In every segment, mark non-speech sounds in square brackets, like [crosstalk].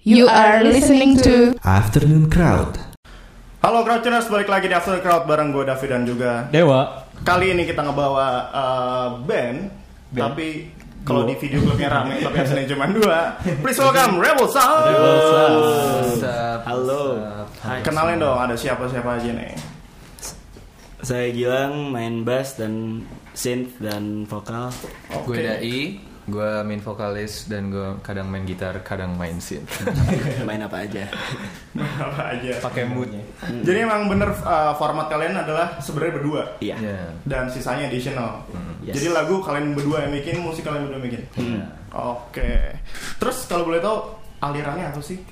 You are listening to Afternoon Crowd. Halo Crouchers, balik lagi di After Crowd bareng gue David dan juga Dewa. Kali ini kita ngebawa eh, band, Tapi kalau di video klipnya rame, tapi yang sini cuma dua Please welcome Rebel Sound Halo. Hai. Kenalin dong, ada siapa-siapa aja nih Saya Gilang main bass dan synth dan vokal. Gue Dai, gue main vokalis dan gue kadang main gitar, kadang main synth. Main apa aja. [laughs] Apa aja Pakai moodnya. Jadi emang bener eh, format kalian adalah sebenarnya berdua Iya. Ya. Dan sisanya additional Yes. Jadi lagu kalian berdua yang bikin, musik kalian berdua yang bikin Oke Terus kalau boleh tahu alirannya apa sih?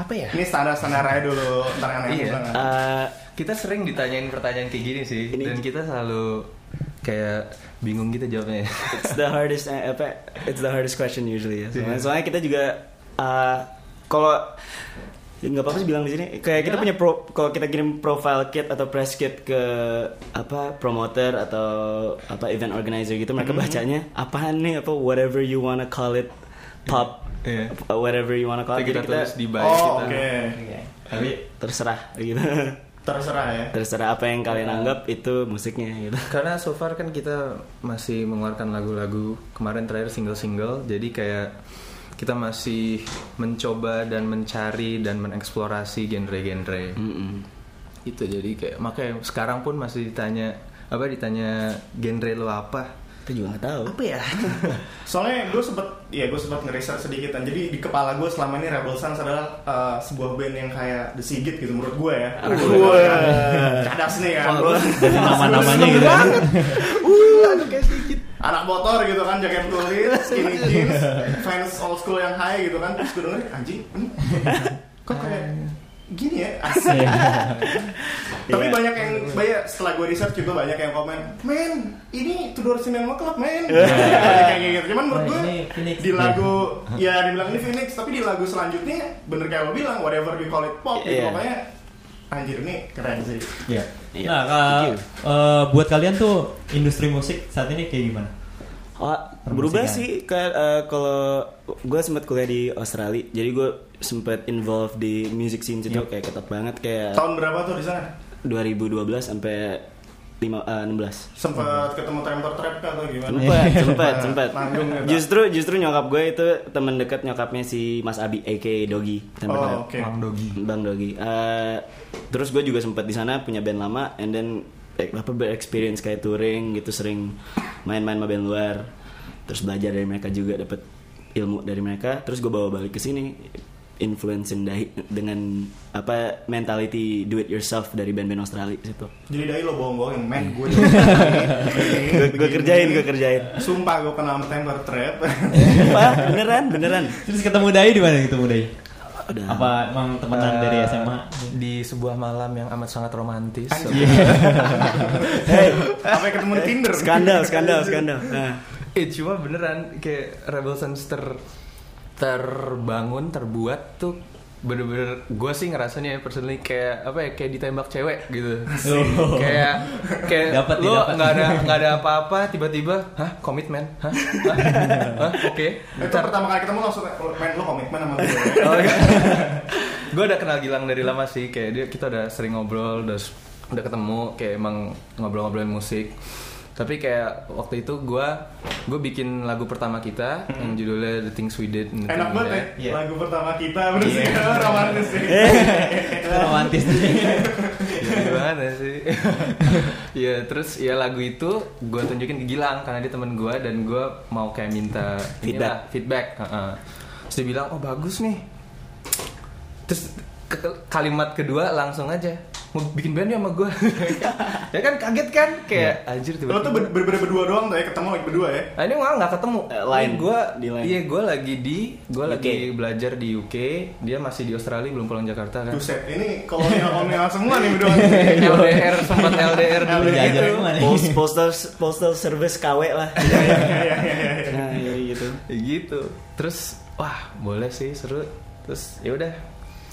Apa ya? Ini standar-standar aja dulu, ntar yang Iya. bilang. Eh, Kita sering ditanyain pertanyaan kayak gini sih, Ini- dan kita selalu kayak bingung gitu jawabnya. it's the hardest eh, apa? It's the hardest question usually. Ya. Soalnya, soalnya kita juga eh, kalau ya nggak apa-apa sih bilang di sini. Kayak kita punya pro, kalau kita kirim profile kit atau press kit ke apa promoter atau apa event organizer gitu mereka bacanya apaan nih apa whatever you wanna call it pop Iya. whatever you wanna call it Kita, Jadi kita tulis di bio Oh, kita. oke. Tapi terserah gitu. Terserah ya. terserah apa yang kalian anggap itu musiknya gitu karena so far kan kita masih mengeluarkan lagu-lagu kemarin terakhir single-single, jadi kayak kita masih mencoba dan mencari dan mengeksplorasi genre-genre. itu Gitu, jadi kayak makanya sekarang pun masih ditanya apa ditanya genre lo apa itu juga nggak tahu apa ya Soalnya gue sempet, ya gue sempet ngeriset sedikit dan jadi di kepala gue selama ini Rebel Sons adalah uh, sebuah band yang kayak The Sigit gitu menurut gue ya. Gue cadas nih kan. Nama-namanya gitu. kan. Anak motor gitu kan, jaket kulit, skinny Iya. jeans, fans old school yang high gitu kan. Terus gue denger, anjing, hmm, kok kayak gini ya? Asik. [laughs] Tapi Iya. banyak yang banyak setelah gue research juga banyak yang komen, men ini Tudor Cinema Club men. Iya. banyak yang kayak gitu. Cuman menurut gue di lagu ya dibilang ini Phoenix tapi di lagu selanjutnya bener kayak lo bilang whatever you call it pop gitu Iya. pokoknya anjir ini keren sih. Iya. Iya. Nah, eh, Thank you. eh, buat kalian tuh industri musik saat ini kayak gimana? oh, berubah sih kayak eh, kalau gue sempat kuliah di Australia jadi gue sempat involved di music scene situ kayak ketat banget kayak Tahun berapa tuh di sana? 2012 sampai lima eh, 16 Sempet ketemu Tremptor Trap kah atau gimana? sempat sempat sempat Iya. Manggung ya, Pak. justru justru nyokap gue itu teman dekat nyokapnya si Mas Abi aka Dogi teman dekat. Oh, oke. Dogi Bang Dogi. Eh, terus gue juga sempat di sana punya band lama, and then eh, apa berexperience kayak touring gitu, sering main-main sama band luar, terus belajar dari mereka juga dapat ilmu dari mereka, terus gue bawa balik ke sini influence Dai dengan apa mentality do it yourself dari band-band Australia situ. Jadi dari lo bohong-bohongin, men gue [laughs] Gue Iya. kerjain, gue kerjain. Sumpah gue kenal sama Tremptor Trap. Apa? Beneran, beneran. Terus ketemu Dai di mana ketemu Dai? Udah. Apa emang temenan Eh, dari SMA? di sebuah malam yang amat sangat romantis Iya. Sampai ketemu di Tinder. Skandal, skandal, skandal. Nah. eh cuma beneran kayak Rebel Sons ter terbangun terbuat tuh bener-bener gue sih ngerasanya ya personally kayak apa ya kayak ditembak cewek gitu kayak kayak Dapat nih, lo dapat. nggak ada nggak ada apa-apa tiba-tiba hah komitmen hah hah, Hah? oke Itu pertama kali ketemu langsung men lo komitmen sama gue. [laughs] [laughs] gue udah kenal Gilang dari lama sih kayak dia kita udah sering ngobrol udah udah ketemu kayak emang ngobrol-ngobrolin musik tapi kayak waktu itu gue gue bikin lagu pertama kita yang judulnya The Things We Did and the Hmm. Enak Things We banget Left. ya. Lagu pertama kita Iya. bener sih [laughs] romantis sih. Romantis. Iya, gimana sih [laughs] ya terus ya lagu itu gue tunjukin ke Gilang karena dia temen gue dan gue mau kayak minta inilah, feedback Heeh. terus dia bilang oh bagus nih terus ke- kalimat kedua langsung aja mau bikin band ya sama gue [laughs] ya kan kaget kan Iya, kayak anjir Lo tuh tiba-tiba ber- ber- berdua doang tuh ya ketemu lagi berdua ya. Nah, ini malah nggak ketemu. Eh, lain. gue, Di lain. iya gue lagi di, gue UK. lagi belajar di UK. Dia masih di Australia, belum pulang Jakarta kan. Buset, ini kolonial-kolonial semua nih [laughs] berdua. Iya. LDR sempat LDR dulu Jajar gitu. kemana? Post, postal postal service KW lah. Iya, iya, iya, iya. Nah, iya gitu. Ya gitu terus wah boleh sih seru terus ya udah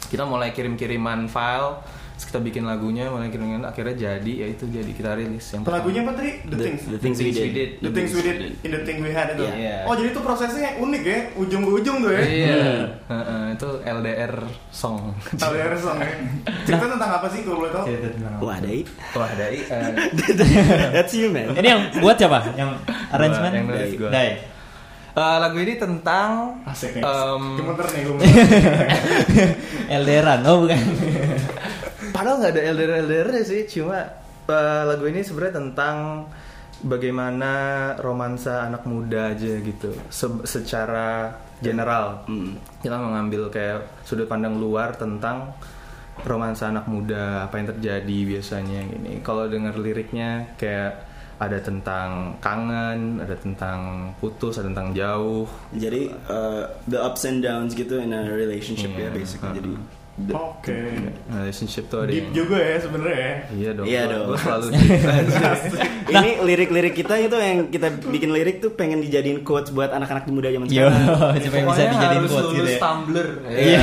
kita mulai kirim kiriman file Terus kita bikin lagunya, malah kira-kira akhirnya jadi, ya itu jadi kita rilis yang pertama. Lagunya apa tadi? The, Things. the things we did. The Things We Did in the Thing We Had itu. Iya. Oh, jadi itu prosesnya unik ya, ujung ke ujung tuh ya. Iya. Heeh, itu LDR song. [laughs] Tahu ya song ya. Cerita tentang apa sih kalau boleh tahu? Cerita tentang apa? Wah, dai. Wah, dari eh, That's you, man. Ini yang buat siapa? Yang arrangement? yang nulis gua. Dai. eh, lagu ini tentang Asik nih. em, Gemeter nih, gemeter. Elderan. Oh, [laughs] bukan. Padahal nggak ada LDR LDR sih, cuma eh, lagu ini sebenarnya tentang bagaimana romansa anak muda aja gitu, se- secara general. Hmm. Kita mengambil kayak sudut pandang luar tentang romansa anak muda, apa yang terjadi biasanya gini. Kalau dengar liriknya kayak ada tentang kangen, ada tentang putus, ada tentang jauh. Jadi uh, the ups and downs gitu in a relationship ya, Iya. basically. Jadi the- Oke. Relationship tuh ada Deep yang- juga ya sebenarnya ya. Iya dong. Iya gua- dong. gua [laughs] selalu deep. [laughs] ini lirik-lirik kita itu yang kita bikin lirik tuh pengen dijadiin quotes buat anak-anak muda zaman Yo, [laughs] sekarang. siapa yang bisa Pokoknya dijadiin harus quotes lulus gitu ya? Tumblr. [laughs] Iya,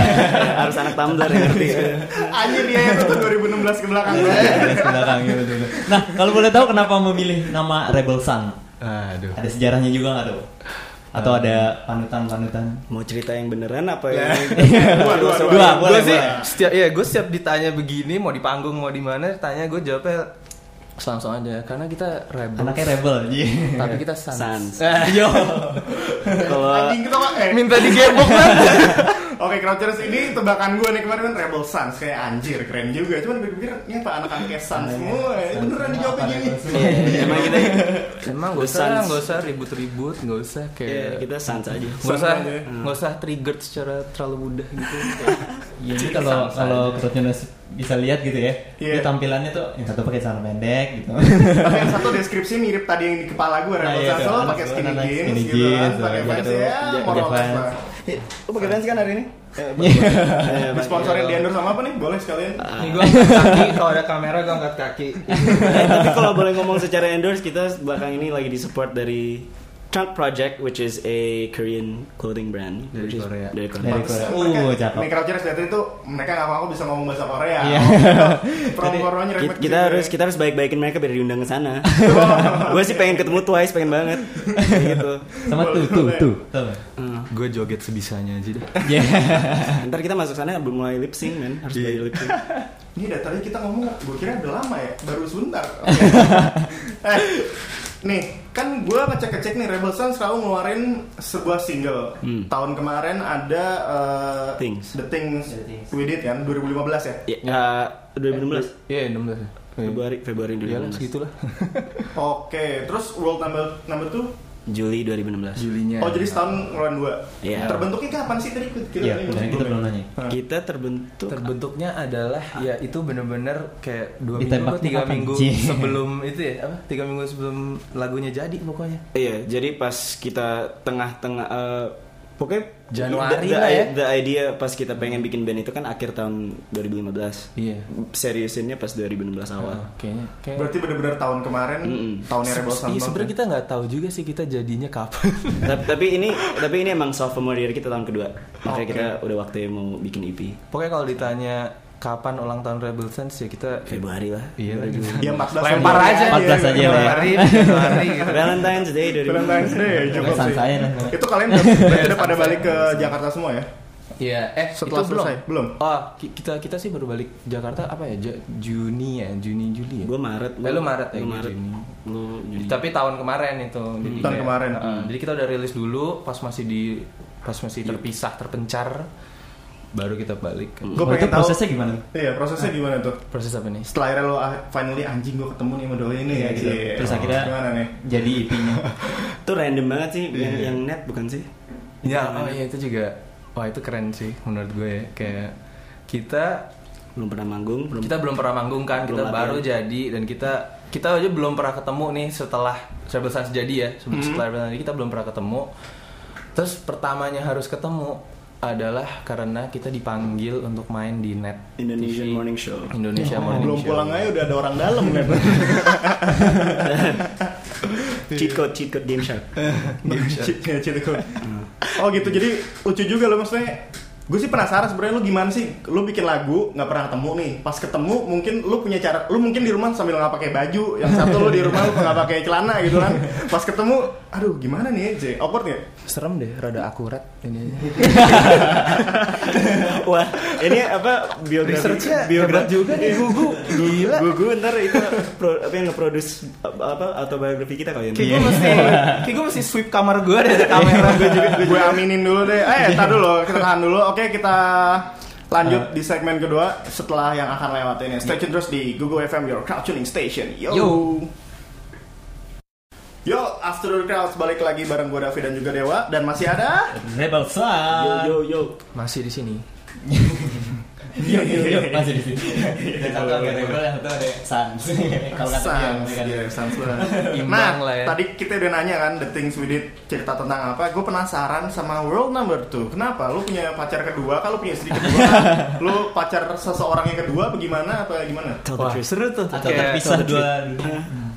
harus anak Tumblr yang ngerti. kan? Anjir ya itu tuh 2016 ke belakang. Garis belakang, iya, betul, betul. Nah, kalau boleh tahu kenapa memilih nama Rebel Sun? Aduh. Ada sejarahnya juga nggak tuh? Atau ada panutan-panutan? Mau cerita yang beneran apa ya? [laughs] Dua, dua, dua. Dua, Gue boleh, sih boleh. setiap ya gue setiap ditanya begini mau di panggung mau di mana tanya gue jawabnya langsung aja karena kita rebel. Anaknya Rebel, iya. Tapi kita sans. Sans. Yo. Kalau Anjing kita Pak. eh. Minta digebok banget. Oke, Crouchers ini tebakan gue nih kemarin kan Rebel Sons kayak anjir keren juga. Cuman gue pikir ini apa anak-anak Sons semua. ya? Ini beneran dijawabnya gini. Iya, iya. emang kita Emang gak usah gak usah ribut-ribut nggak usah ya, kayak kita sans aja. nggak usah Sans aja. nggak usah triggered secara terlalu mudah gitu. Jadi Iya. kalau Sans kalau aja. Krotiones bisa lihat gitu ya. Iya. Dia tampilannya tuh yang satu pakai celana pendek [laughs] gitu. Tapi yang satu deskripsi mirip tadi yang di kepala gue Rebel Nah, iya, Sons tuh, lo anak- pakai skinny anak jeans skinny gitu kan, jeans, pakai gitu. pants ya, Ja- moral Javans. lah. Lo pakai fans kan hari ini? Eh, Disponsorin di endorse sama apa nih? Boleh sekalian. Ini gue angkat kaki kalau ada kamera gue angkat kaki. Eh, tapi kalau boleh ngomong secara endorse kita belakang ini lagi disupport dari Trunk Project which is a Korean clothing brand Dari which is- Korea. dari Korea. Dari Pantesan Korea. mereka- Uh, cakep. Nih Crouchers dari itu mereka nggak mau bisa ngomong bahasa Korea. Gitu. Iya. [laughs] Promo Koreanya Kita, remet kita gitu harus ya. kita harus baik-baikin mereka biar diundang ke sana. gue sih pengen ketemu Twice, pengen banget. Kayak gitu. Sama tuh tuh Iya. tuh. Tuh. Hmm. Gue joget sebisanya aja deh. Iya. Ntar kita masuk sana belum mulai lip sync, men. Harus belajar lip sync. Ini dari tadi kita ngomong, gue kira udah lama ya, baru sebentar. Oke. eh, nih, kan gue ngecek-ngecek nih, Rebel Sun selalu ngeluarin sebuah single. Hmm. Tahun kemarin ada eh, Things. The Things The Things. We Did kan, 2015 ya. Ya, eh, 2016. Iya 16 ya. Februari Februari Iya lah 2016. segitulah. Oke, terus World Number Number 2 Juli 2016. Julinya. Oh jadi setahun ngeluarin dua. Iya. Terbentuknya kapan sih tadi? Nah, Kita- kita- Iya, kemarin kita belum nanya. Kita terbentuk terbentuknya adalah ya itu bener-bener kayak dua minggu Ditembak atau tiga tembakan. minggu Cie. sebelum itu ya apa tiga minggu sebelum lagunya jadi pokoknya Iya, jadi pas kita tengah-tengah eh, pokoknya Januari the, the lah ya. i- the idea pas kita pengen bikin band itu kan akhir tahun 2015. iya Ah. Seriusinnya pas 2016 awal. kayaknya kayak Berarti bener-bener tahun kemarin, Mm-mm. tahunnya Rebel Sun. Iya, banget sebenarnya ya. kita nggak tahu juga sih kita jadinya kapan [laughs] tapi, tapi ini tapi ini emang sophomore year kita tahun kedua. Makanya Oke. kita udah waktunya mau bikin E EP. pokoknya kalau ditanya kapan ulang tahun Rebel Sense ya kita Februari lah. iya Ya 14 lempar iya, 14 aja aja lah ya. Februari Februari [laughs] gitu. [laughs] Valentine's Day dari Valentine's Day ya, cukup sih. Valentine's saya nih. Itu kalian udah, udah- [laughs] udah pada balik ke Jakarta semua ya? Iya, eh Setelah itu belum. selesai, belum? Oh, ki- kita kita sih baru balik Jakarta apa ya? Ja- Juni ya, Juni Juli ya. Gue Maret. Eh, lu Maret ya, Lu gua Maret. Juni. Lu Juni. Tapi tahun kemarin itu. Jadi Hmm. Tahun kayak, kemarin. uh, jadi kita udah rilis dulu pas masih di pas masih Iya. terpisah terpencar baru kita balik. Gua Oh, itu pengen tahu- prosesnya gimana? Ah. Iya, prosesnya gimana tuh? Proses apa nih? Setelah akhirnya lo ah, finally anjing gue ketemu nih sama doi ini Iya, ya gitu. Cie. Terus akhirnya- gimana nih? Jadi [laughs] IP-nya. Itu random banget sih yang, yang net bukan sih? Iya. Ya, oh iya itu juga. Wah, itu keren sih menurut gue ya. Kayak kita Belum pernah manggung, belum kita belum pernah manggung kan, kita Belum baru latihan. jadi dan kita kita aja belum pernah ketemu nih setelah Travel Sans jadi ya. Mm-hmm. Sebelum setelah Travel Sans jadi kita belum pernah ketemu. Terus pertamanya harus ketemu adalah karena kita dipanggil untuk main di net Indonesian Morning Show. Oh, Indonesia Morning Belum Show. pulang aja udah ada orang dalam kan? [laughs] Cheat code, cheat code [laughs] game shark. Hmm. Iya, Cie, gitu. Oh gitu, jadi lucu juga lo maksudnya Gue sih penasaran sebenarnya lu gimana sih? Lu bikin lagu nggak pernah ketemu nih. Pas ketemu mungkin lu punya cara, lu mungkin di rumah sambil nggak pakai baju, yang satu lu di rumah lu nggak pakai celana gitu [laughs] kan. Pas ketemu, aduh gimana nih, J? Awkward nggak? Serem deh, rada akurat ini. Wah, ini apa biografi Research-nya hebat juga nih Gugu. Gila. Gugu ntar itu pro- apa yang nge-produce apa autobiografi kita ya? kali ini. Kayak gue mesti, kayak gue mesti sweep kamar gue dari kamera gue juga. gue aminin dulu deh. Eh, tar dulu, kita tahan dulu. Oke, kita lanjut di segmen kedua setelah yang akan lewat ini. Stay tune terus di Google FM Your Crowd Tuning Station. Yo. Yo. after the crowd balik lagi bareng gue Davi dan juga Dewa dan masih ada. Rebel Sun. Yo yo yo. Masih di sini. Yo yo yo masih di sini. Iya, Yang satu ada Rebel, yang satu ada Sans. [laughs] Kalau kata dia, kan Sans, mereka iya, ada- Sans lah. Imbang Nah, lah ya. tadi kita udah nanya kan The Things We Did cerita tentang apa Gue penasaran sama World Number 2 Kenapa? Lu punya pacar kedua, kalau punya istri kedua Lu pacar seseorang yang kedua bagaimana apa gimana? Tell the Wah truth. seru tuh. Atau Kayak- terpisah dua.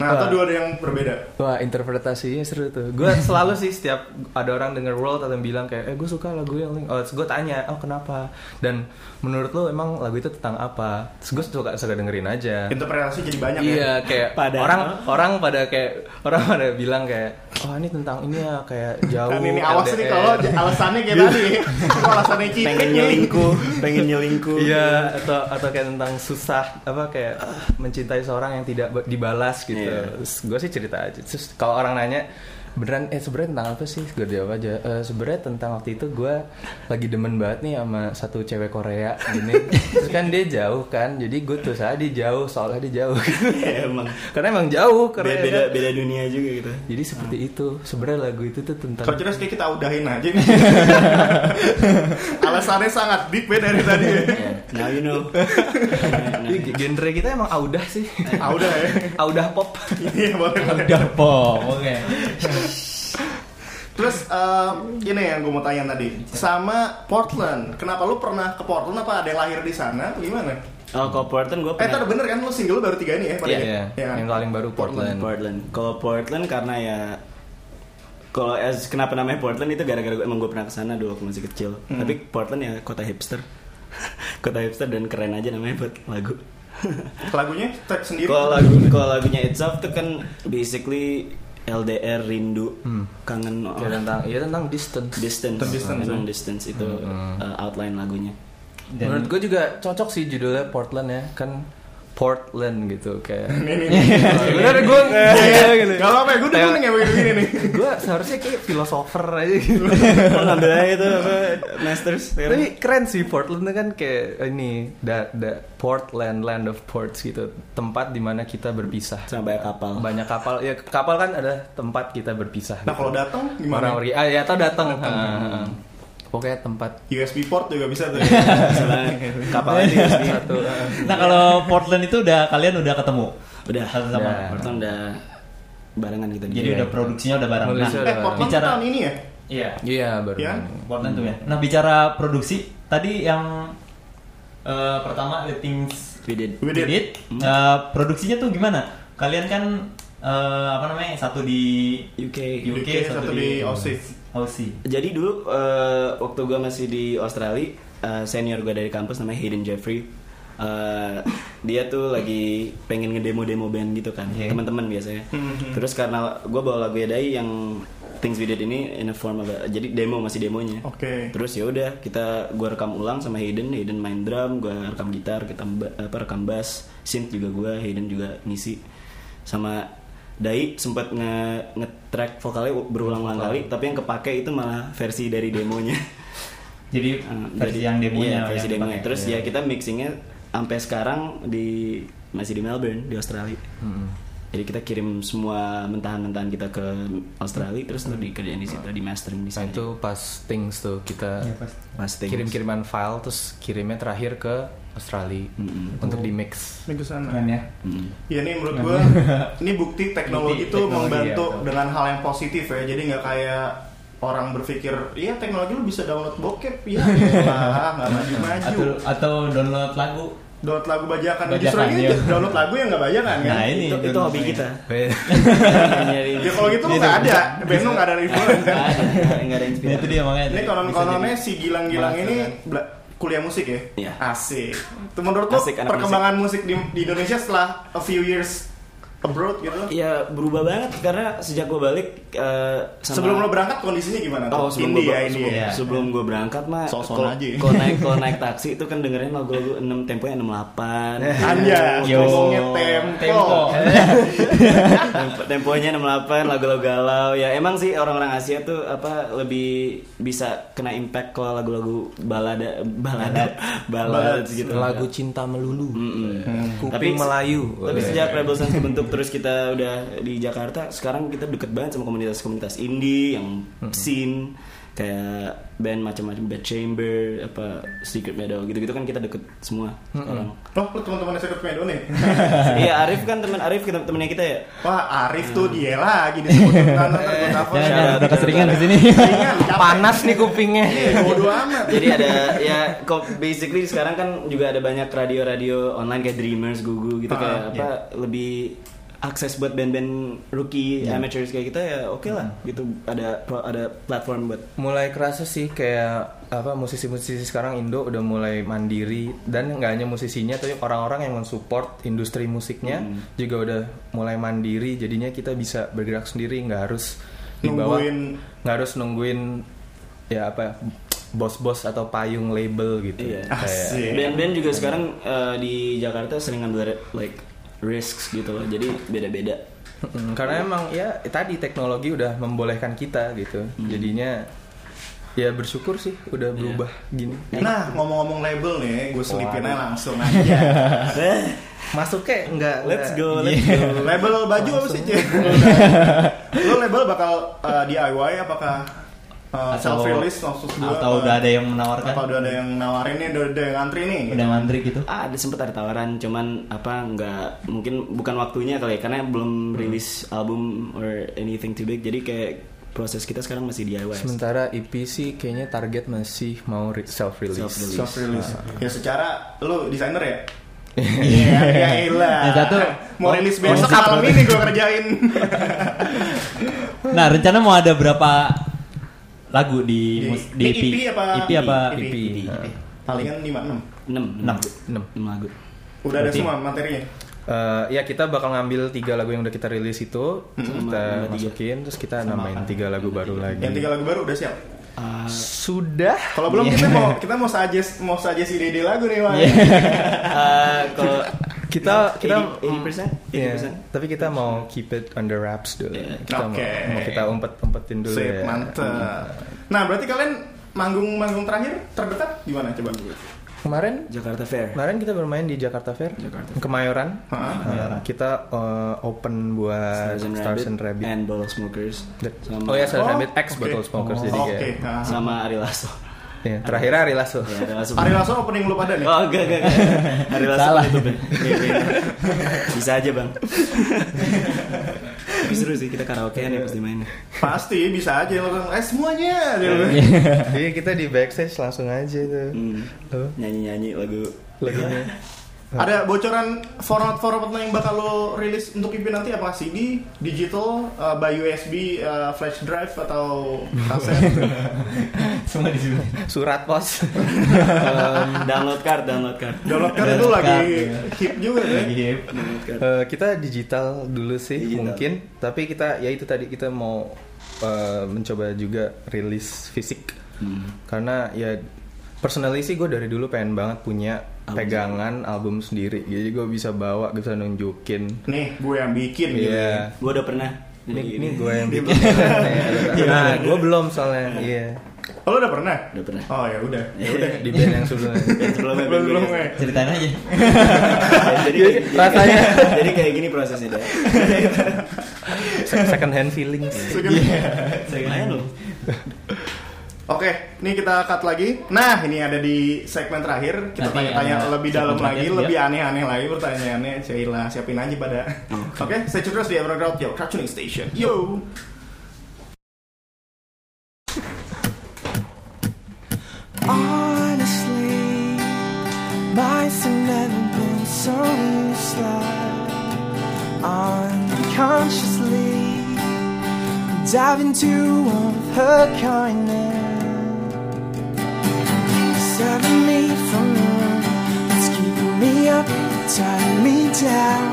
Nah, atau dua ada yang berbeda? Wah interpretasinya seru tuh. Gue selalu sih setiap ada orang denger world atau yang bilang kayak, eh gue suka lagu yang Link. Oh, gue tanya, oh kenapa? Dan menurut lo emang lagu itu tentang apa? Terus gue suka suka dengerin aja. interpretasi jadi banyak ya. Iya kayak Padahal- orang orang pada kayak orang pada bilang kayak, oh ini tentang ini ya kayak jauh. Dan ini awas nih LDR." kalau j- [laughs] alasannya kayak tadi. Kalau alasannya cipik Pengen nih. nyelingkuh, pengen nyelingkuh. Iya atau atau kayak tentang susah apa kayak mencintai seorang yang tidak ba- dibalas gitu. Iya. Gue sih cerita aja. Terus kalau orang nanya beneran eh sebenarnya tentang apa sih? Gue jawab aja. "Eh, sebenarnya tentang waktu itu gue lagi demen banget nih sama satu cewek Korea [laughs] gini. Terus kan dia jauh kan. Jadi gue tuh saya dia jauh soalnya dia jauh. Ya, [laughs] emang Karena emang jauh Korea. beda, beda kan. beda dunia juga gitu. Jadi seperti itu. Sebenarnya lagu itu tuh tentang Kalau cerdas kayak kita udahin aja nih. alasannya sangat deep ya dari tadi. ya. Now you know. Ih, Iya, genre kita emang audah sih. Ah udah ya. audah pop. Iya boleh. boleh. Udah pong, oke. Terus eh, ini yang gue mau tanya tadi sama Portland. Kenapa lu pernah ke Portland? Apa ada yang lahir di sana? Atau Gimana? [laughs] Oh, kalau Portland gue Eh, tadi bener kan lu single lu baru tiga ini ya? Iya, padahal? Iya kan? yang paling baru Portland. Portland. Kalau Portland karena ya kalau as- kenapa namanya Portland itu gara-gara gua- emang gue pernah kesana dulu waktu masih kecil. Hmm. Tapi Portland ya kota hipster, [laughs] kota hipster dan keren aja namanya buat lagu. Lagunya track sendiri. Kalau lagu kalau lagunya itself tuh kan basically LDR rindu kangen Ya orang tentang iya tentang distance. distance, Tentang distance, Emang distance itu uh, outline lagunya. Dan- Menurut gue juga cocok sih judulnya Portland ya kan Portland gitu kayak. [laughs] Ini Iya, nih. Bener gue gitu. Gak iya. apa-apa, gue udah kuning ya begini [laughs] nih. gue seharusnya kayak filosofer aja [laughs] gitu. Kalau ngambil aja itu apa masters. Tapi keren sih Portland tuh kan kayak ini da, da- Portland land of ports gitu tempat dimana kita berpisah. Sama banyak kapal. Banyak kapal ya kapal kan ada tempat kita berpisah. gitu. Nah, kalau datang gimana? Orang pergi ah ya atau datang. Ah, Pokoknya tempat USB port juga bisa [laughs] tuh. Iya, Misalnya kapalnya di [laughs] satu. ah. Nah kalau Portland itu udah kalian udah ketemu. udah Sama- sama. Ya. Udah. Portland udah barengan gitu. Jadi udah produksinya udah bareng. Nah, Nulisnya eh, Portland tuh Bicara- tahun ini ya? iya. Iya baru. Ya. Portland tuh ya. Nah bicara produksi tadi yang eh, pertama The Things We did. We did. Edit, eh, produksinya tuh gimana? Kalian kan eh, apa namanya satu di UK. UK, UK, satu di Aussie. Aussie. Jadi dulu eh, waktu gue masih di Australia, eh, senior gue dari kampus namanya Hayden Jeffrey. Eh, dia tuh lagi pengen ngedemo-demo band gitu kan, Iya. teman-teman biasanya. Terus karena gue bawa lagu Dai yang Things We Did ini in a form of a- jadi demo masih demonya. Oke. Terus ya udah kita gue rekam ulang sama Hayden, Hayden main drum, gue rekam gitar, kita ba- apa rekam bass, synth juga gue, Hayden juga ngisi sama Dai sempat nge nge-track vokalnya berulang-ulang kali, tapi yang kepake itu malah versi dari [laughs] demonya. Jadi Eh, versi dari- yang demonya. iya, versi yang demonya. dipakai. Terus ya kita mixingnya sampai sekarang di masih di Melbourne di Australia. Hmm. Jadi kita kirim semua mentahan-mentahan kita ke Australia, terus Hmm. tuh dikerjain di situ, di mastering di Nah sana. itu pas things tuh kita Iya, pas- Mastering. kirim-kiriman file terus kirimnya terakhir ke Australia Mm-mm. untuk di mix. Ini ke sana. Keren ya. Mm. Ya ini menurut [laughs] gue, ini bukti teknologi Bukti itu teknologi, membantu ya, betul. dengan hal yang positif ya. Jadi nggak kayak orang berpikir, iya [laughs] teknologi lu bisa download bokep, iya nggak maju maju. Atau atau download lagu download lagu bajakan. Bajakan, Justru ini iya. download lagu yang nggak bajakan kan? Nah, iya. ini itu, itu dulu hobi saya. kita [laughs] nyari Ya kalau gitu nggak ada, Beno nggak ada influence kan? nggak ada Nah, itu inspirasi dia makanya. Ini konon-kononnya si Gilang-Gilang ini bela- kuliah musik ya? kan? Iya. Asik. Itu menurut lo Asik, anak perkembangan musik, di, di Indonesia setelah a few years abroad gitu? ya berubah banget karena sejak gue balik eh, sama- Sebelum lo berangkat kondisinya gimana? Oh, tuh? sebelum Indie gue ya, sebelum, Indie ya. sebelum gua berangkat mah Sok-sokan kalau- aja. kalau [laughs] naik kalau naik taksi itu kan dengerin lagu-lagu 6 temponya 68. Eh, Anjas, Yo. ngomongnya tempo. [laughs] Tempo. Tempo- temponya 68 lagu-lagu galau. Ya emang sih orang-orang Asia tuh apa lebih bisa kena impact kalau lagu-lagu balada balada balada gitu. Lagu cinta melulu. Mm-mm. Kuping Melayu. Tapi sejak Rebel Sense kebentuk terus kita udah di Jakarta, sekarang kita deket banget sama komunitas-komunitas indie yang scene kayak band macam-macam Bad Chamber, apa Secret Meadow gitu-gitu kan kita deket semua sekarang. Oh, lo teman-teman Secret Meadow nih? [laughs] Iya, Arif kan teman Arif kita- temennya kita ya. Wah, Arif tuh dia lagi disebut Ntar [laughs] gue telepon. Jangan, Jangan, jangan, udah jangan. keseringan di sini. Ringan, capek. panas nih kupingnya. Iya, bodo [laughs] amat. Jadi ada ya kok basically sekarang kan juga ada banyak radio-radio online kayak Dreamers, Gugu Ah, gitu kayak apa lebih akses buat band-band rookie amateurs kayak kita ya oke lah Mm-hmm. gitu ada ada platform buat mulai kerasa sih kayak apa musisi-musisi sekarang Indo udah mulai mandiri dan nggak hanya musisinya tapi orang-orang yang mensupport industri musiknya juga udah mulai mandiri jadinya kita bisa bergerak sendiri nggak harus dibawa Nungguin- nggak harus nungguin ya apa bos-bos atau payung label gitu Iya. Ah, Kayak- Asik. Band-band juga sekarang eh, di Jakarta sering ngambil re- like risks gitu loh. Jadi beda-beda. Mm, karena emang ya tadi teknologi udah membolehkan kita gitu jadinya ya bersyukur sih Iya. udah berubah gini Nah, ngomong-ngomong label nih, gue selipin aja langsung aja. masuk ke nggak Let's nggak- go, let's Iya. go. label baju apa sih, Cek? Lo label bakal eh, DIY apakah uh, self release langsung dua, atau apa- udah ada yang menawarkan atau udah ada yang nawarin nih, udah ada yang ngantri nih. udah ngantri gitu Ah, ada sempat ada tawaran, cuman apa nggak mungkin bukan waktunya kali ya, karena Hmm. belum rilis album or anything too big. Jadi kayak proses kita sekarang masih DIY. Sementara EP sih kayaknya target masih mau self release. Self release. Nah. Ya secara lo desainer ya? Iya, ya elah. Yang satu, oh, mau rilis mau- besok mau- malam ini gue kerjain. nah rencana mau ada berapa lagu Di- di mus- di E ini EP apa? E EP apa E EP. EP? Palingan 5 6. 6 Enam. 6 [laughs] lagu. Udah ada semua materinya. ya kita bakal ngambil tiga lagu yang udah kita rilis itu, kita masukin, terus kita nambahin tiga lagu baru lagi. Iya. Yang tiga lagu baru udah siap. Ah, Sudah. Kalau belum kita mau kita mau suggest mau suggest ide-ide lagu nih, Wang. Iya. Eh, kalau [laughs] Kita kita 80%, 80%. Iya, tapi kita mau keep it under wraps dulu. Iya. Kita Oke. mau, mau kita umpet umpetin dulu Sip, ya. mantep. Nah, berarti kalian manggung-manggung terakhir terdekat gimana coba? Kemarin Jakarta Fair. Kemarin kita bermain di Jakarta Fair, Kemayoran. Hah? Nah, Kita uh, open buat Stars and, Rabbit. and Bottle Smokers sama Oh ya, Stars and Oh, Rabbit X oke. Bottle Smokers jadi Oke. kayak. nah. sama Ari Lasso. [laughs] Iya, terakhir Ari Lasso. Ya, Ari Lasso. Ari Lasso opening lu pada nih. Oh enggak enggak. enggak. Hari Lasso Salah. penutup ya. Iya, iya. Bisa aja bang. Tapi seru sih kita karaokean ya pas dimain. Pasti bisa aja langsung eh semuanya. gitu. [laughs] Iya. Jadi kita di backstage langsung aja tuh. Hmm. Tuh, Nyanyi nyanyi lagu. lagunya. Ada bocoran format-format yang bakal lo rilis untuk IP nanti apa CD, digital, eh, by USB, eh, flash drive atau kaset? semua di sini Surat pos. download card, download card. Download kan itu Download lagi kan. hip juga ya. lagi hip. Download card. Eh, kita digital dulu sih Digital. mungkin, tapi kita ya itu tadi kita mau eh, mencoba juga rilis fisik. Hmm. Karena ya personally sih gue dari dulu pengen banget punya Album pegangan album sendiri. Jadi gue bisa bawa, gue bisa nunjukin. Nih, gue yang bikin Iya. gitu. Gua udah pernah. Ini, Jadi ini gini. Iya. gue yang bikin. [laughs] nah, gue belum soalnya. Iya. Oh, lo udah pernah? Udah pernah. Oh, ya udah. Ya udah di band yang sebelumnya. Sebelumnya Belum belum. gue- eh. ceritain aja Jadi kayak gini. Rasanya. Jadi kayak gini prosesnya deh. Second hand feelings. Iya. Lumayan loh. [laughs] Oke, ini kita cut lagi. Nah, ini ada di segmen terakhir. Kita Nanti tanya-tanya ada lebih segmen dalam lagi, terakhir, ya. lebih aneh-aneh lagi pertanyaannya. Sheila, siapin aja pada. Oke, saya terus di Everground Yo, Cartooning Station. Yo. Honestly, mine's 11 slide unconsciously. Dive into all of her kindness, serving me from the room that's keeping me up, tying me down.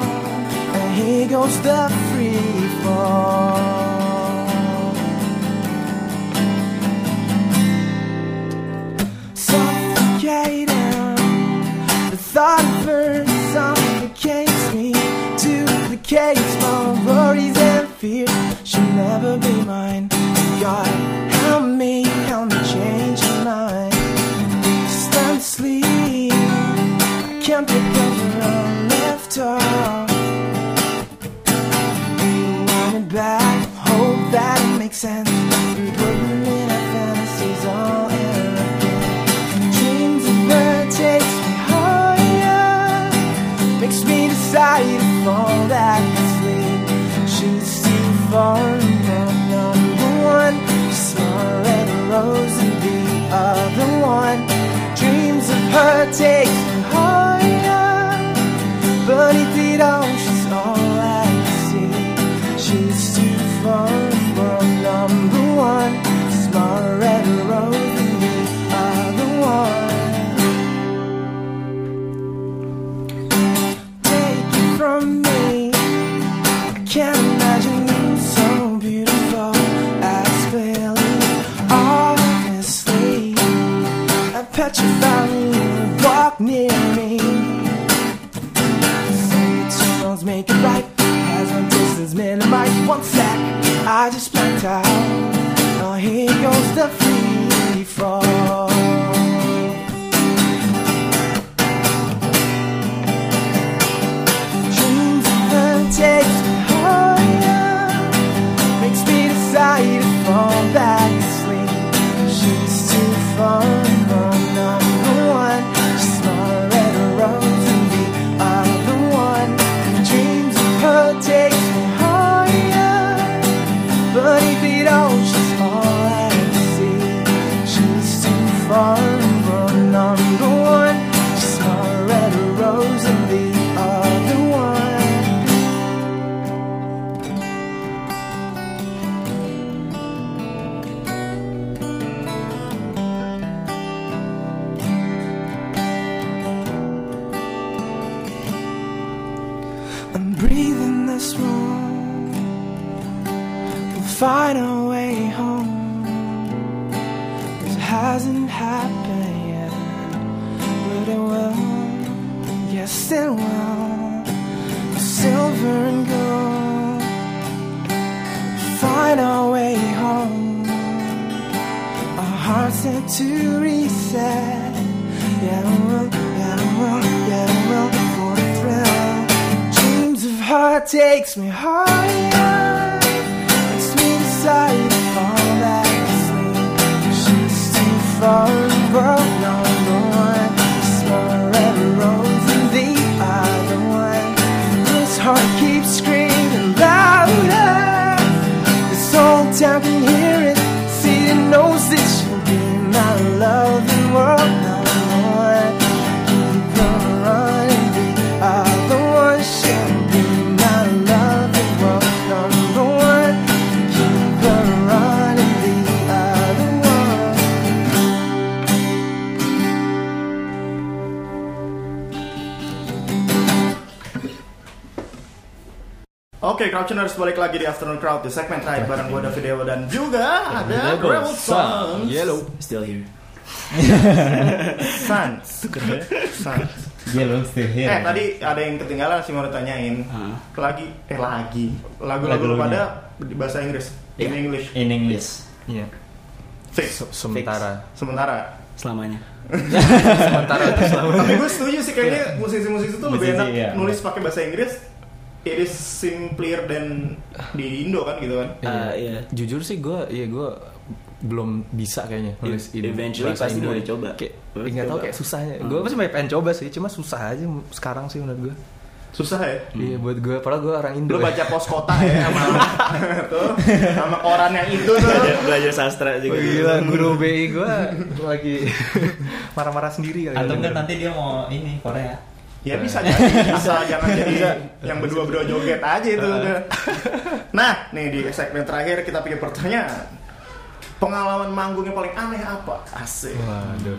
And here goes the free fall. suffocating. The thought of her suffocates me, duplicates my worries and fears. She'll never be mine. God, help me, help me change my mind. Just let me sleep. I can't pick up where I left off. You want it back? Hope that it makes sense. We're putting in our fantasies all in again. Dreams of her takes me higher, makes me decide to fall back asleep. She's too far from number one. She's smaller than a rose and the other one. Dreams of her takes me higher, but if it all, she's all I can see. She's too far from number one. Smaller than a rose and the other one. take it from me. I can't imagine you so beautiful as clearly, obviously. I petrify me when you walk near me. Say two wrongs make it right. Has my distance minimized. One sec, I just blanked out. Now here goes the free fall. Dreams of takes me higher, makes me decide to fall back asleep. She's too far from number one. She's smaller than a rose and the other one. Dreams of her takes me higher, but if it all, she's all I can see. She's too far from number one. She's smaller than a rose and the other one. I'm breathing this one. We'll find our way home. This hasn't happened yet, but it will. Yes, it will. Silver and gold. We'll find our way home. Our hearts need to reset. Yeah, it will. Yeah, it will. Yeah, it will. For the thrill. Dreams of her takes me higher. Makes me decide to fall back asleep. She's too far above number one. Smaller red rose than the other one. This heart keeps screaming louder. This whole town can hear it. See it knows that she'll be my love and world number one. Keep on running, be the one. She'll be my love and world number one. Keep on running, be the one. Oke, Crowdtuners balik lagi di Afternoon Crowd di segmen terakhir bareng gue David Dewa dan juga ada Rebel Rebel Iya. Sons. Sons. Yellow. Still here. [laughs] Sons. Sons. Yellow still here. Eh tadi ada yang ketinggalan sih mau ditanyain. Lagi eh lagi lagu-lagu lu Lagu-lagunya. Iya. pada di bahasa Inggris, in English. in English. Iya. Fix Sementara. sementara. Selamanya. Sementara itu selalu. Tapi gue setuju sih kayaknya musisi-musisi itu lebih Musisi, enak iya. nulis pakai bahasa Inggris. It is simplier than di Indo kan gitu kan. Ah, iya. Jujur sih gue, ya gue belum bisa kayaknya nulis ini. Iya. Eventually bahasa pasti Indo. boleh coba. Kayak, Boleh nggak tahu coba. kayak susahnya. Hmm. Gue pasti pengen coba sih, cuma susah aja sekarang sih menurut gue. Hmm. Susah ya. Iya buat gue, padahal gue orang Indo. Lu ya. baca pos kota ya sama tuh, sama koran yang itu tuh. Belajar, belajar sastra Wah, juga. Gila, guru BI gue lagi [laughs] marah-marah sendiri kali. ya. Atau ini. enggak nanti dia mau ini Korea. Ya bisa jadi, asal jangan jadi yang berdua-berdua joget aja itu udah. Nah, nih di segmen terakhir kita pikir pertanyaan. Pengalaman manggungnya paling aneh apa? Asik. Waduh.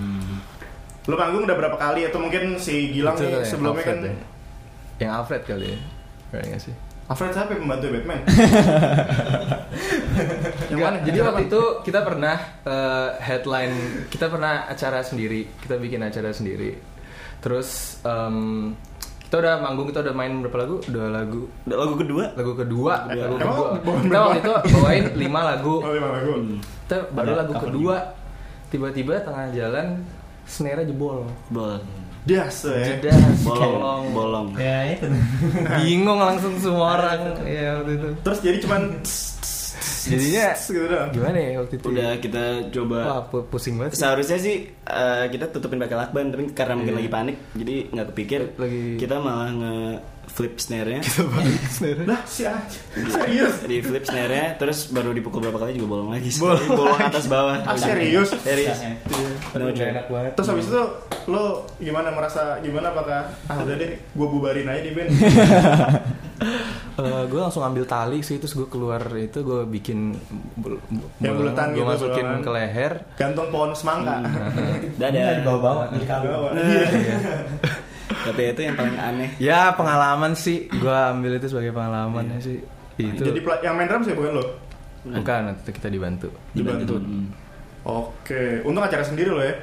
Lu manggung udah berapa kali atau mungkin si Gilang nih Itu yang sebelumnya kan Alfred ya. Yang Alfred kali ya. Kayaknya sih. Alfred siapa yang membantu [laughs] Batman? yang Enggak, mana? jadi Yang waktu mana? itu kita pernah eh, headline, kita pernah acara sendiri, kita bikin acara sendiri. Terus em, kita udah manggung, kita udah main berapa lagu? Dua lagu. Lagu kedua Lagu kedua, lagu Emang bawain kedua. Kita berapa? waktu itu bawain lima lagu. Oh, lima lagu. Kita baru Ada lagu cover kedua, tiba-tiba tengah jalan snare jebol. bolong Biasa ya. Jeda, bolong bolong. bolong ya itu Bingung langsung semua orang. Ya waktu itu. Terus jadi [laughs] cuman Jadinya gitu [laughs] doang. gimana ya waktu itu? udah kita Wah, coba pu- pusing banget. sih. seharusnya sih eh, kita tutupin pakai lakban tapi karena mungkin lagi panik jadi nggak kepikir Lagi- kita malah nge flip snare-nya [laughs] Lah si anjing. Serius. di flip snare-nya terus baru dipukul berapa kali juga bolong lagi bolong, bolong atas bawah Ah, serius? serius Aduh, No nggak joke. enak banget Terus habis itu lo gimana merasa gimana apakah ah udah deh gue bubarin aja [laughs] di band gue Eh, langsung ambil tali sih terus gue keluar itu gue bikin bul- bu- Ya, buletan gue gitu, masukin buletan. ke leher gantung pohon semangka Hmm. [laughs] di dadah bawah bawah Bawa. di [laughs] kalung Iya. Iya. tapi itu yang paling aneh ya pengalaman sih gue ambil itu sebagai pengalaman ya sih itu Nah, jadi pla- yang main drum sih bukan lo bukan nanti kita dibantu dibantu Hmm. oke untung acara sendiri lo ya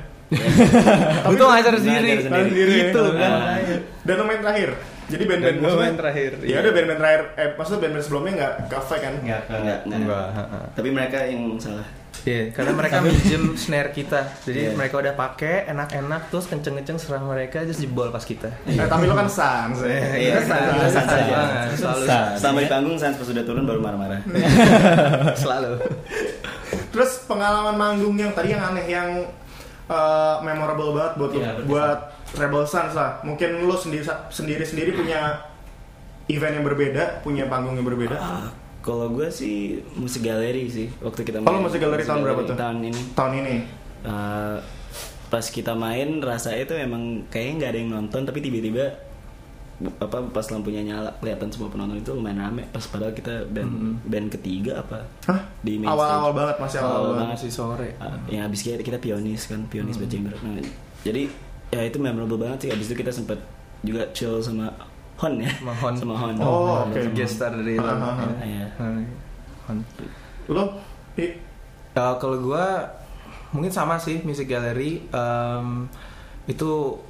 untung acara Ngajar Iya, sendiri sendiri. itu Nah. kan Ah. dan lo main terakhir jadi band-band gue maksudnya- main terakhir iya. ya udah band-band terakhir eh maksudnya band-band sebelumnya nggak kafe kan nggak ke Nggak, nggak. Nggak, heeh. tapi mereka yang salah Iya, karena mereka minjem snare kita Iya. jadi mereka udah pakai enak-enak terus kenceng-kenceng serah mereka terus jebol pas kita eh, tapi lo kan sans ya Iya, Kita sans, sans sans aja. banget, selalu sans. selama di panggung sans pas sudah turun baru marah-marah selalu Terus pengalaman manggung yang tadi yang aneh yang uh, memorable banget buat lu- Iya, berkesan. buat Rebel Sons lah. Mungkin lo sendiri sendiri sendiri punya event yang berbeda, punya panggung yang berbeda. Ah, kalau gue sih musik galeri sih waktu kita Kalau musik galeri tahun berapa tuh? tahun ini Tahun ini. Eh, pas kita main rasanya itu emang kayaknya nggak ada yang nonton tapi tiba-tiba bu- apa pas lampunya nyala kelihatan semua penonton itu lumayan rame pas padahal kita band band ketiga apa Mm-hmm. Hah? di main Awal-awal stage. banget masih awal-awal Awal banget. masih sore Ah, yang habis kita, kita pionis kan pionis Mm-hmm. Bad Chamber. Nah, jadi ya itu memorable banget sih habis itu kita sempet juga chill sama Hon ya Sama Hon. sama Hon Nah, Oh, oke. guest star dari Ah, ah, ah. Iya. Lo Pi? Eh, kalau gua mungkin sama sih music gallery Em, itu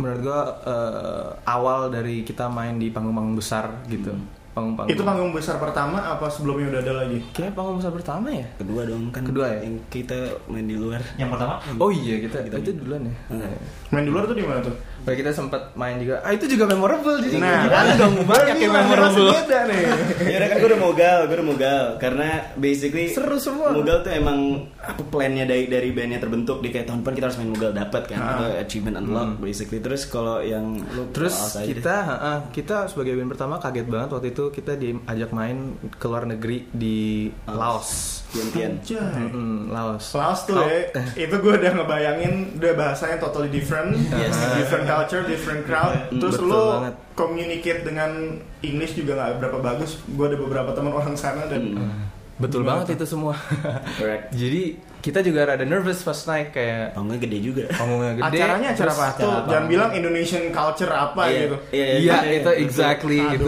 menurut gua eh, awal dari kita main di panggung-panggung besar gitu panggung-panggung Hmm. itu panggung besar pertama apa sebelumnya udah ada lagi? Kayaknya panggung besar pertama ya kedua dong kan Kedua ya? yang kita main di luar yang pertama oh iya kita, itu duluan ya Hmm. Main di luar tuh di mana tuh? Nah, kita sempat main juga ah itu juga memorable jadi Nah, gimana dong banyak yang memorable Beda nih. ya udah kan gue udah mogal, gue udah mogal karena basically Seru semua. Mogal tuh emang apa plannya dari dari bandnya terbentuk di kayak tahun depan kita harus main mogal dapat kan Ah. atau achievement unlock basically. Terus kalau yang lu [laughs] Hmm. Terus awas aja kita ha-ha, kita sebagai band pertama kaget banget waktu itu kita diajak main ke luar negeri di Laos. deh. gantian. Anjay. Mm, Laos. Laos tuh ya, itu gue udah ngebayangin udah bahasanya totally different, Yes. different culture, different crowd. Mm, Terus betul lo banget. communicate dengan English juga nggak berapa bagus. Gue ada beberapa teman orang sana Mm. dan Ah. Betul Gimana banget itu semua. [laughs] Correct. Jadi kita juga rada nervous pas naik kayak Panggungnya gede juga. panggungnya gede. acaranya acara terus- apa tuh? Jangan bilang Indonesian culture apa Iya, gitu. Iya, Iya iya. itu exactly gitu.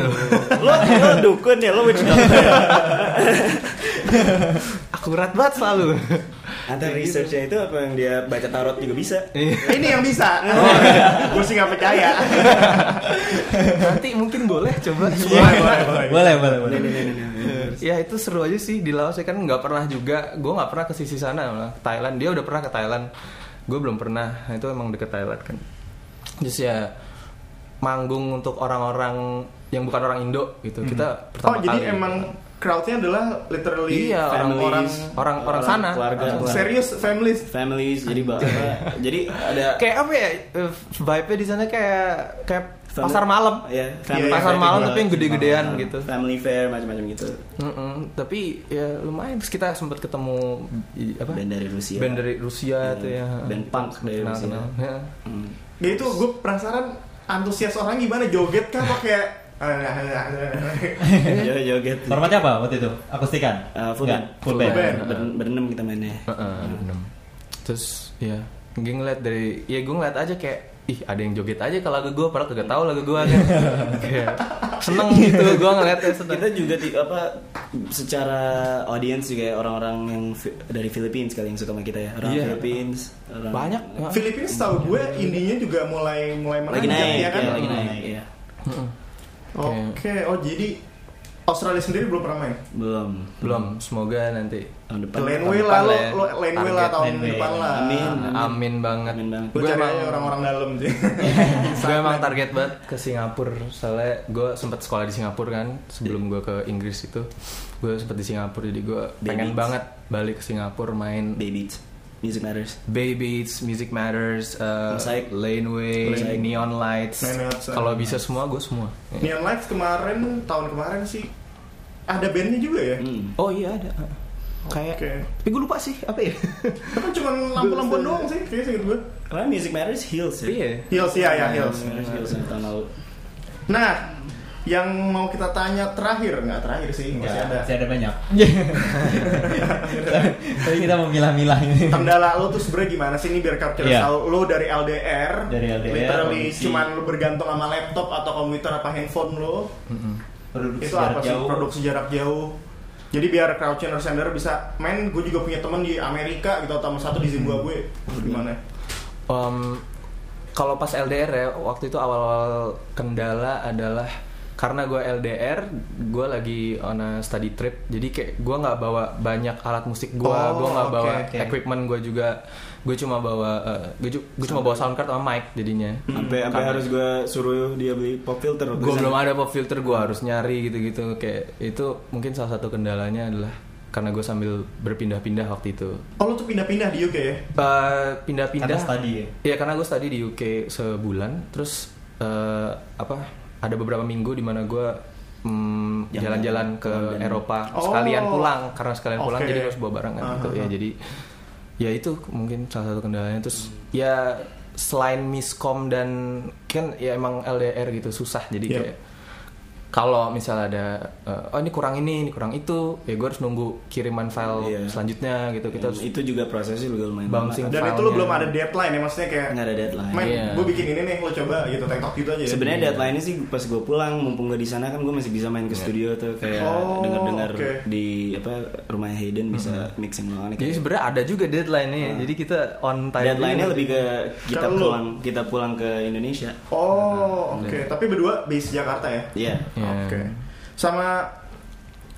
Lo lo dukun ya, lo witch doctor. [laughs] Akurat banget [laughs] selalu. Antara researchnya itu apa yang dia baca tarot juga bisa. Eh, Ini yang bisa. gue sih nggak percaya. Nanti mungkin boleh coba. boleh, boleh, boleh. boleh boleh boleh ya itu seru aja sih di Laos ya kan nggak pernah juga gue nggak pernah ke sisi sana malah ke Thailand dia udah pernah ke Thailand gue belum pernah Nah, itu emang deket Thailand kan terus ya manggung untuk orang-orang yang bukan orang Indo gitu Oh kita pertama jadi kali gitu kan. emang crowdnya adalah literally iya orang orang families, eh, orang orang sana keluarga, keluarga. serius families. Families jadi bapak. jadi ada kayak apa ya eh, vibe-nya di sana kayak kayak Standar- pasar malam Iya, Iya, iya, pasar kayak malam gitu. tapi yang gede-gedean gitu Family fair macam-macam gitu. Mm-mm, tapi ya lumayan terus kita sempat ketemu i- apa Band dari Rusia. band dari Rusia Iya, tuh ya band punk dari Kenal- Rusia. [laughs] kenal. Ya. Hmm. Ya itu gue penasaran antusias orang gimana joget kah pakai Jo- joget Formatnya apa waktu itu? Akustikan? Eh, full band. Nggak, full Full band. band. Ber- berenam kita mainnya Heeh, Iya. enam. Terus ya, gue ngeliat dari, ya gue ngeliat aja kayak, ih ada yang joget aja ke lagu gue, padahal kagak tahu lagu gue [laughs] kan. Kayak seneng gitu, gue ngeliatnya seneng. kita juga ti- apa secara audience juga ya, orang-orang yang fi- dari Filipina sekali yang suka sama kita ya orang Iya. Filipina orang Banyak. heeh. Filipina tahu gue ininya juga mulai mulai lagi menanjak naik ya kan ya, lagi naik ya. Heeh. oke oh jadi Australia sendiri belum pernah main belum Belum, semoga nanti. tahun depan Laneway depan lah lo, lah ya. lo Laneway lah Target tahun Laneway. depan lah Amin. Amin banget. Amin banget. Lo Gue cari emang aja orang-orang dalam [laughs] sih gue emang target banget ke Singapura soalnya gue sempat sekolah di Singapura kan sebelum gue ke Inggris itu gue sempat di Singapura jadi gue pengen Beats. banget balik ke Singapura main baby music matters Bay Beats, Music Matters, uh, Mosaic. Laneway, Mosaic. Neon Lights. Neon Lights, Kalau Neon bisa semua gue semua. Neon Lights kemarin tahun kemarin sih ada bandnya juga ya Hmm. Oh iya ada. Kayak Oke. tapi gue lupa sih apa ya. tapi cuma lampu-lampu doang sih kayaknya sih gue Karena Music Matters Hills ya. Iya. Hills ya ya Hills Hmm. Music Matters Hills yang tahun lalu. nah yang mau kita tanya terakhir nggak terakhir sih masih Ya, ada Masih ada [laughs] banyak. Tapi kita mau milah-milah ini. kendala lo tuh sebenernya gimana sih ini biar kita Iya. tahu lo dari LDR, Dari LDR, literally produksi. cuman lo bergantung sama laptop atau komputer apa handphone lo Produksi itu jarak apa sih jauh. produksi jarak jauh jadi biar Crouching Sender bisa main gue juga punya temen di Amerika gitu atau sama satu di Zimbabwe Hmm. gimana Om, kalau pas LDR ya waktu itu awal-awal kendala adalah karena gue LDR, gue lagi on a study trip, jadi kayak gue nggak bawa banyak alat musik gue, Oh, gue nggak oke, bawa oke. equipment gue juga, gue cuma bawa, eh, gue cuma bawa sound card sama mic jadinya. Hmm. Sampai sampai harus gue suruh dia beli pop filter. waktu gue itu. belum ada pop filter gue harus nyari gitu-gitu kayak itu mungkin salah satu kendalanya adalah karena gue sambil berpindah-pindah waktu itu oh lo tuh pindah-pindah di UK ya Eh, Karena pindah-pindah study ya? Iya, karena gue study di UK sebulan terus eh, apa ada beberapa minggu di mana gue mm, Jalan. jalan-jalan ke London. Eropa Oh. sekalian pulang karena sekalian pulang Oke. jadi harus bawa barangan gitu ya jadi ya itu mungkin salah satu kendalanya terus ya selain miskom dan kan ya emang LDR gitu susah jadi Yep. kayak kalau misalnya ada eh, oh ini kurang ini ini kurang itu ya gue harus nunggu kiriman file Iya. selanjutnya gitu kita harus itu juga prosesnya juga lumayan Bouncing. lama. dan itu lo Filenya. belum ada deadline ya maksudnya kayak Nggak ada deadline. main Iya. gue bikin ini nih lo coba gitu tektok gitu aja ya Sebenarnya deadline sih pas gue pulang, mumpung gue di sana kan gue masih bisa main ke studio tuh kayak Oh, dengar-dengar oke. di apa rumahnya Hayden bisa mixing ulang. Jadi Kayak- sebenarnya ada juga deadline nya jadi kita on time. Hmm. Deadline-nya lebih ke kita Kalau lu- pulang kita pulang ke Indonesia. oh oke tapi berdua base Jakarta ya Nah, Iya. Iya. Oke. Sama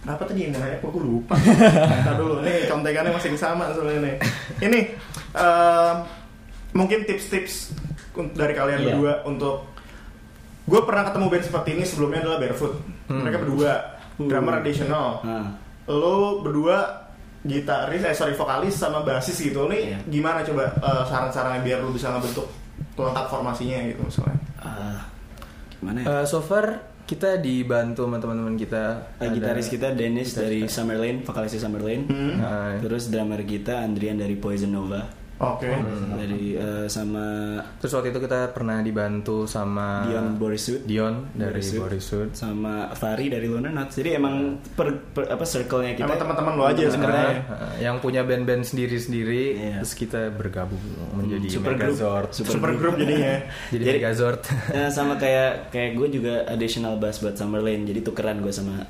apa tadi yang mau nanya? Kok gue [laughs] lupa. Ntar dulu. Nih contekannya masih sama soalnya nih. Ini em, mungkin tips-tips un- dari kalian Iya. berdua untuk gue pernah ketemu band seperti ini sebelumnya adalah Barefoot. Hmm. Mereka berdua Uh. drummer additional. Nah, Lo berdua gitaris, eh sorry vokalis sama basis gitu. Nih Iya. gimana coba eh, saran-sarannya biar lo bisa ngebentuk lengkap formasinya gitu misalnya. ah, gimana ya? Eh, so far kita dibantu sama teman-teman kita. Eh, gitaris kita Dennis dari Summerlane, vokalisnya Summerlane. Hmm. Nah, Terus drummer kita Andrian dari Poison Nova. Oke. Dari eh, sama terus waktu itu kita pernah dibantu sama Dion Borisut, Ah. Dion dari Borisut. Borisut. sama Fari dari Luna Nuts. Jadi emang per, per- apa circle-nya kita ya. Emang teman-teman lo aja sebenarnya. Karena- Eh, yang punya band-band sendiri-sendiri, Iya. Hmm, terus kita bergabung menjadi super group. Megazord. Super group [laughs] jadinya. Jadi, Jadi- Megazord. [laughs] Eh, sama kayak kayak gue juga additional bass buat Summerlane. Jadi tukeran gue sama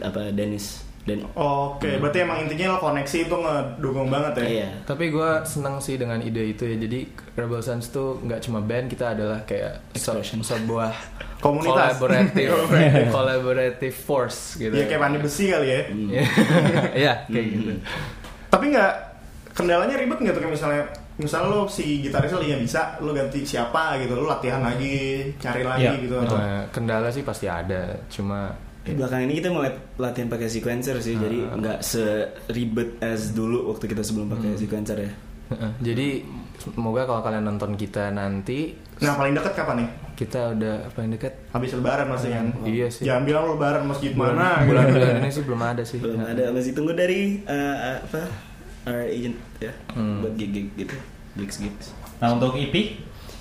apa Dennis dan Oh, Oke, berarti emang intinya lo koneksi itu ngedukung banget ya? iya. Tapi gue senang sih dengan ide itu ya. Jadi Rebel Sons tuh nggak cuma band, kita adalah kayak se- sebuah Komunitas. collaborative, [laughs] Iya. collaborative force gitu. Iya kayak mandi besi kali ya. Iya, Iya, kayak gitu. Tapi nggak kendalanya ribet nggak tuh kayak misalnya misalnya lo si gitaris lo yang bisa, lo ganti siapa gitu, lo latihan lagi, cari lagi Iya, gitu. atau- Nah, kendala sih pasti ada, cuma Belakangan ini kita mulai latihan pakai sequencer sih, Ah. jadi nggak seribet as dulu waktu kita sebelum pakai Hmm. sequencer ya. eh, jadi semoga kalau kalian nonton kita nanti Nah paling deket kapan nih? kita udah paling dekat Habis lebaran masih kan? Iya sih. Jangan bilang lo lebaran masjid mana? gitu. bulan-bulan ini sih belum ada sih. Hmm. Belum ada masih tunggu dari eh, apa Hmm. our agent ya buat gig gig gitu gigs gigs. Nah untuk EP E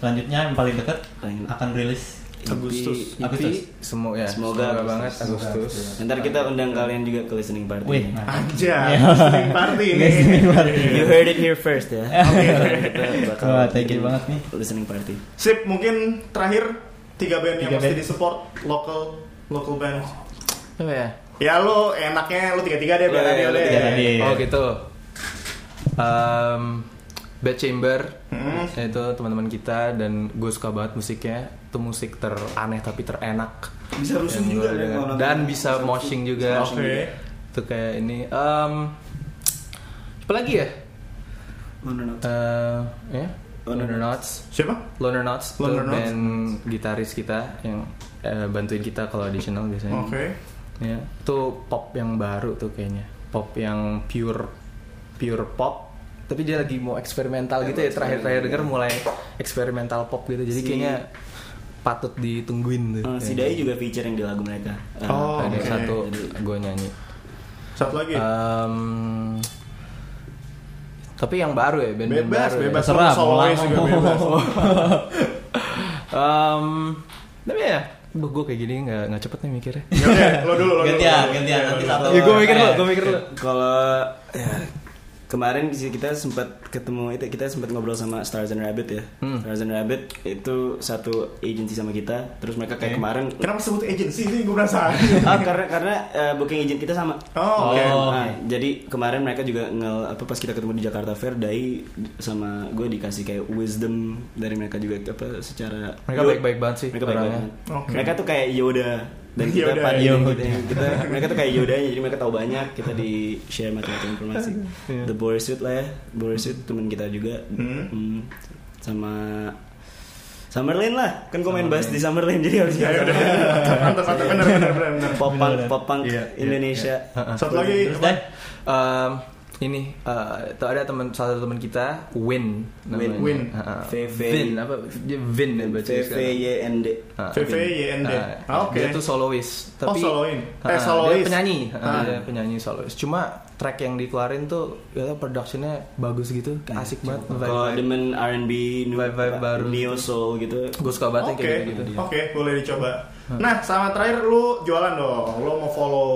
selanjutnya yang paling dekat Paling- akan rilis E Agustus. EP, Agustus. semu- ya, Semoga semoga Agustus. banget Agustus. Ntar kita undang kalian juga ke listening party. Wih, nah. Iya. Aja, [laughs] listening party Ah, ini. Iya, Iya, Listening party. You heard it here first [laughs] ya. kita bakal Wah, thank you banget nih. Listening party. Sip, mungkin terakhir tiga band Tiga yang mesti band. di support local local band. Apa ya? Ya lo enaknya lo tiga-tiga deh biar Boleh, adil lo deh. tiga-tiga deh. Iya. Oh gitu. Um, Bad Chamber Hmm. itu teman-teman kita dan gue suka banget musiknya. Itu musik teraneh tapi terenak. Bisa rusuh Dan gua dengar- dan bisa moshing juga. moshing Oke. Itu kayak ini. Um, apa lagi ya? Eh, ya? Loner Loner Knots. Siapa? Loner Knots itu Loner Knots. band gitaris kita yang eh, bantuin kita kalau additional biasanya. Oke. Ya, itu pop yang baru tuh kayaknya. Pop yang pure pure pop. Tapi dia lagi mau eksperimental gitu ya. Terakhir-terakhir denger mulai eksperimental pop gitu. Jadi Si- kayaknya patut ditungguin Eh, tuh. si Dai juga featuring di lagu mereka. Eh, Oh, Ada oke. satu Ah. Jadi, gue nyanyi. Satu lagi. Em, tapi yang baru ya band, -band bebas, baru ya. bebas. Terserah, Solo mau solois lama, juga mau- bebas. [laughs] Em, tapi ya, gue kayak gini nggak nggak cepet nih mikirnya. Ya udah, lo dulu, lo dulu. Gantian, lo dulu. gantian nanti satu. Ya gue mikir Eh, lo, gue mikir lo. Kalau ya, kemarin sih kita sempat ketemu itu kita sempat ngobrol sama Stars and Rabbit ya. Hmm. Stars and Rabbit itu satu agency sama kita. Terus mereka kayak kemarin Kenapa sebut agency sih? Gue penasaran. Ah, karena karena eh, booking agent kita sama. Oh, oke. Oh. Nah, jadi kemarin mereka juga nge apa pas kita ketemu di Jakarta Fair Dai sama gue dikasih kayak wisdom dari mereka juga apa secara Mereka Yo- baik-baik banget sih Mereka baik orangnya. banget. Oke. Mereka tuh kayak Yoda dan kita Yoda, pan- Yoda. kita, kita- mereka tuh kayak Yoda jadi mereka tahu banyak kita di share macam-macam informasi. The Boris Suit lah ya. Boris Suit teman kita juga. Iya. Hmm. Hmm. Sama Summerlin lah, kan gue main bass di Summerlin jadi harus Ya udah. Mantap, mantap. Bener, bener, bener. bener. pop punk Bener-bener. pop punk Iya, iya, Indonesia Satu lagi. Terus deh, Em, ini eh, itu ada teman salah satu teman kita Win namanya. Win. Heeh. VV. Vin apa dia Vin ya baca VVYND VVYND. Ah, Oke. Dia tuh solois Oh, tapi soloin. Heeh, Eh, solois. Dia penyanyi, Heeh, Ah. dia penyanyi solois. Cuma track yang dikeluarin tuh ya tau, productionnya bagus gitu, asik banget. kalau demen R&B nu- Vibe-vibe baru. neo soul gitu Gue suka banget yang Oke, kayak gitu. oke, boleh dicoba. Nah, sama terakhir lu jualan dong. Lu mau follow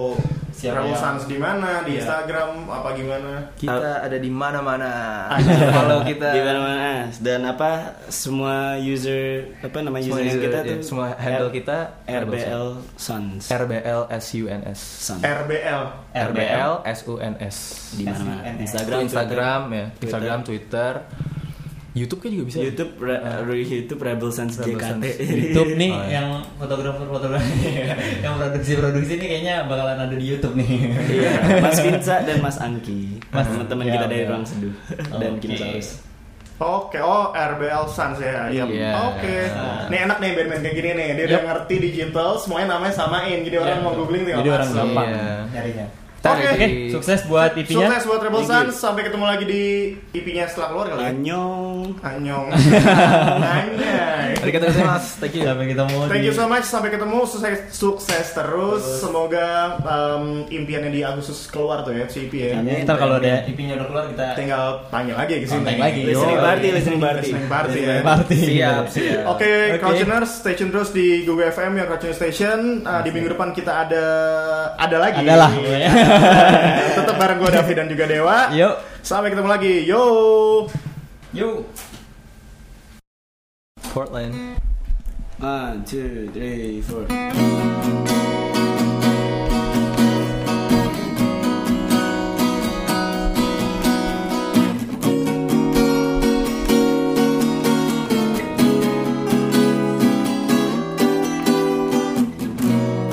Siapa Raul yang- Sans di mana? Iya. Di Instagram apa gimana? Kita ada di [laughs] mana-mana. Anjir. Kalau Ah. kita di mana-mana dan apa semua user apa nama semua user yang user- kita ya, tuh semua handle R- kita RBL Sons RBL SUNS. Sons RBL. RBL SUNS. di mana-mana SUNS. Instagram Instagram, Instagram ya, Twitter. Instagram, Twitter, YouTube kan juga bisa. Twitter. YouTube Re- Re- YouTube Rebel Sons Ah. Rebel JKT Sons. YouTube nih Oh, iya. yang fotografer-fotografer [laughs] yang produksi-produksi ini kayaknya bakalan ada di YouTube nih. [laughs] Iya, Mas Vinsa dan Mas Angki Mas- teman-teman ya, kita dari oke. ruang seduh dan Kinosaurus Oke, oh RBL Sans ya. Iya. Iya. Oke. Nih enak nih band-band kayak gini nih. Dia udah ngerti digital, semuanya namanya samain. Jadi orang mau googling tinggal Jadi orang masuk. gampang Iya. nyarinya. Kita ada Oke. Oke, di- sukses buat E IP-nya. Sukses buat Rebel Sans. Sampai ketemu lagi di IP-nya setelah keluar kali. ya? [laughs] Annyeong Anyong. Anyong. Terima kasih Mas. Thank you. Sampai ketemu Thank di you so much. Sampai ketemu. Sukses, sukses terus. Semoga um, impiannya di Agustus keluar tuh ya, CP ya. Kayaknya Ntar kalau ada IP-nya udah keluar kita Tinggal panggil lagi ya ke sini. kontak lagi. listening Yo. party listening party Listening party ya. Party. Siap, siap. Oke, Crouchers, stay tune terus di Google FM yang Crouching Station. Uh, di minggu depan kita ada ada lagi. [laughs] Adalah. Tetap bareng gue David dan juga Dewa. Yuk. Sampai ketemu lagi. Yo. Yuk. Portland. One, two, three, four.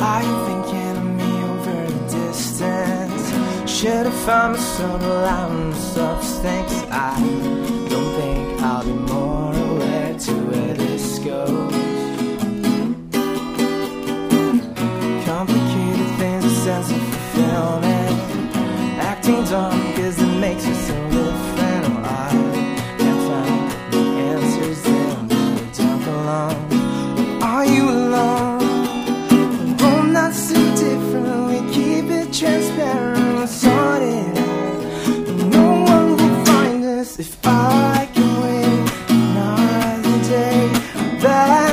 Are you thinking of me over the distance? Should have found a subtle and substance. I don't think I'll be more aware to where this goes. Complicated things, a sense of fulfillment. Acting dumb because it makes you so different. Well, I can't find the answers in the dark alone. Are you alone? We're not so different. We keep it transparent. We sort it out. No one will find us if I can wait another day.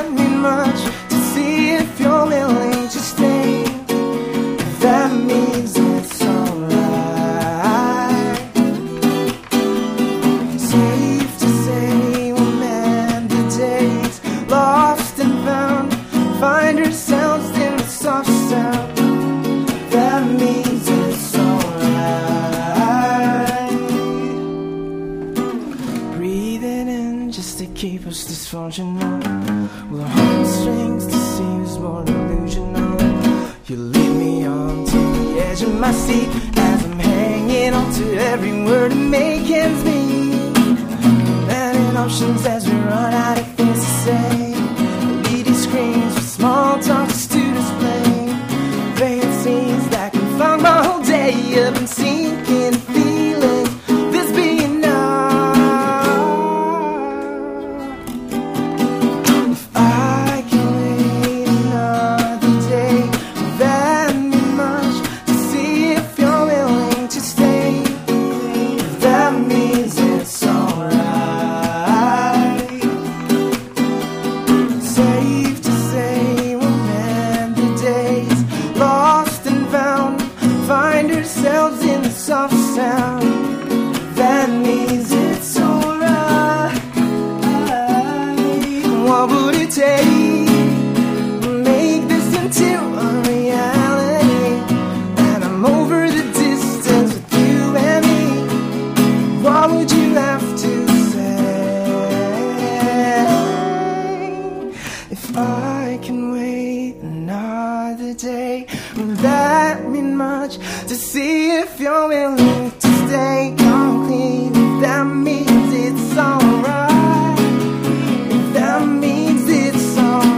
dysfunctional. Well, the heartstrings deceives more delusional. You leave me on to the edge of my seat as I'm hanging on to every word to make ends meet. Planning options as we run out of things to say. LED screens with small talk just to display. Playing scenes that can fog my whole day up and sinking feelings. This being enough. If I can wait another day, will that mean much to see if you're willing to stay? If that means it's alright. Safe to say we'll mend the days, lost and found, find ourselves in the soft sound. That means it's alright. What would it take to make this into a reality? And I'm over the distance with you and me. What would you have to say? If I can wait another day, will that mean much to see if you're willing to stay complete? If that means it's alright. If that means it's on.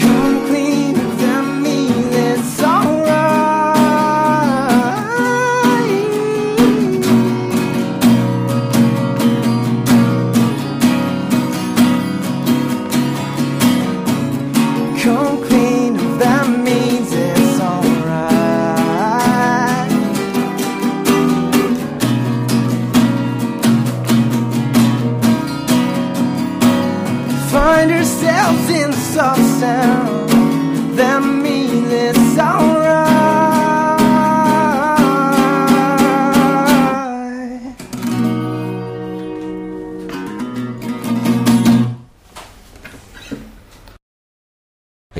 Come clean, if that means it's alright. Come clean, if that means it's alright. find ourselves in soft sound. That means it's alright.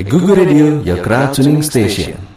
Google Radio, your crowd tuning station.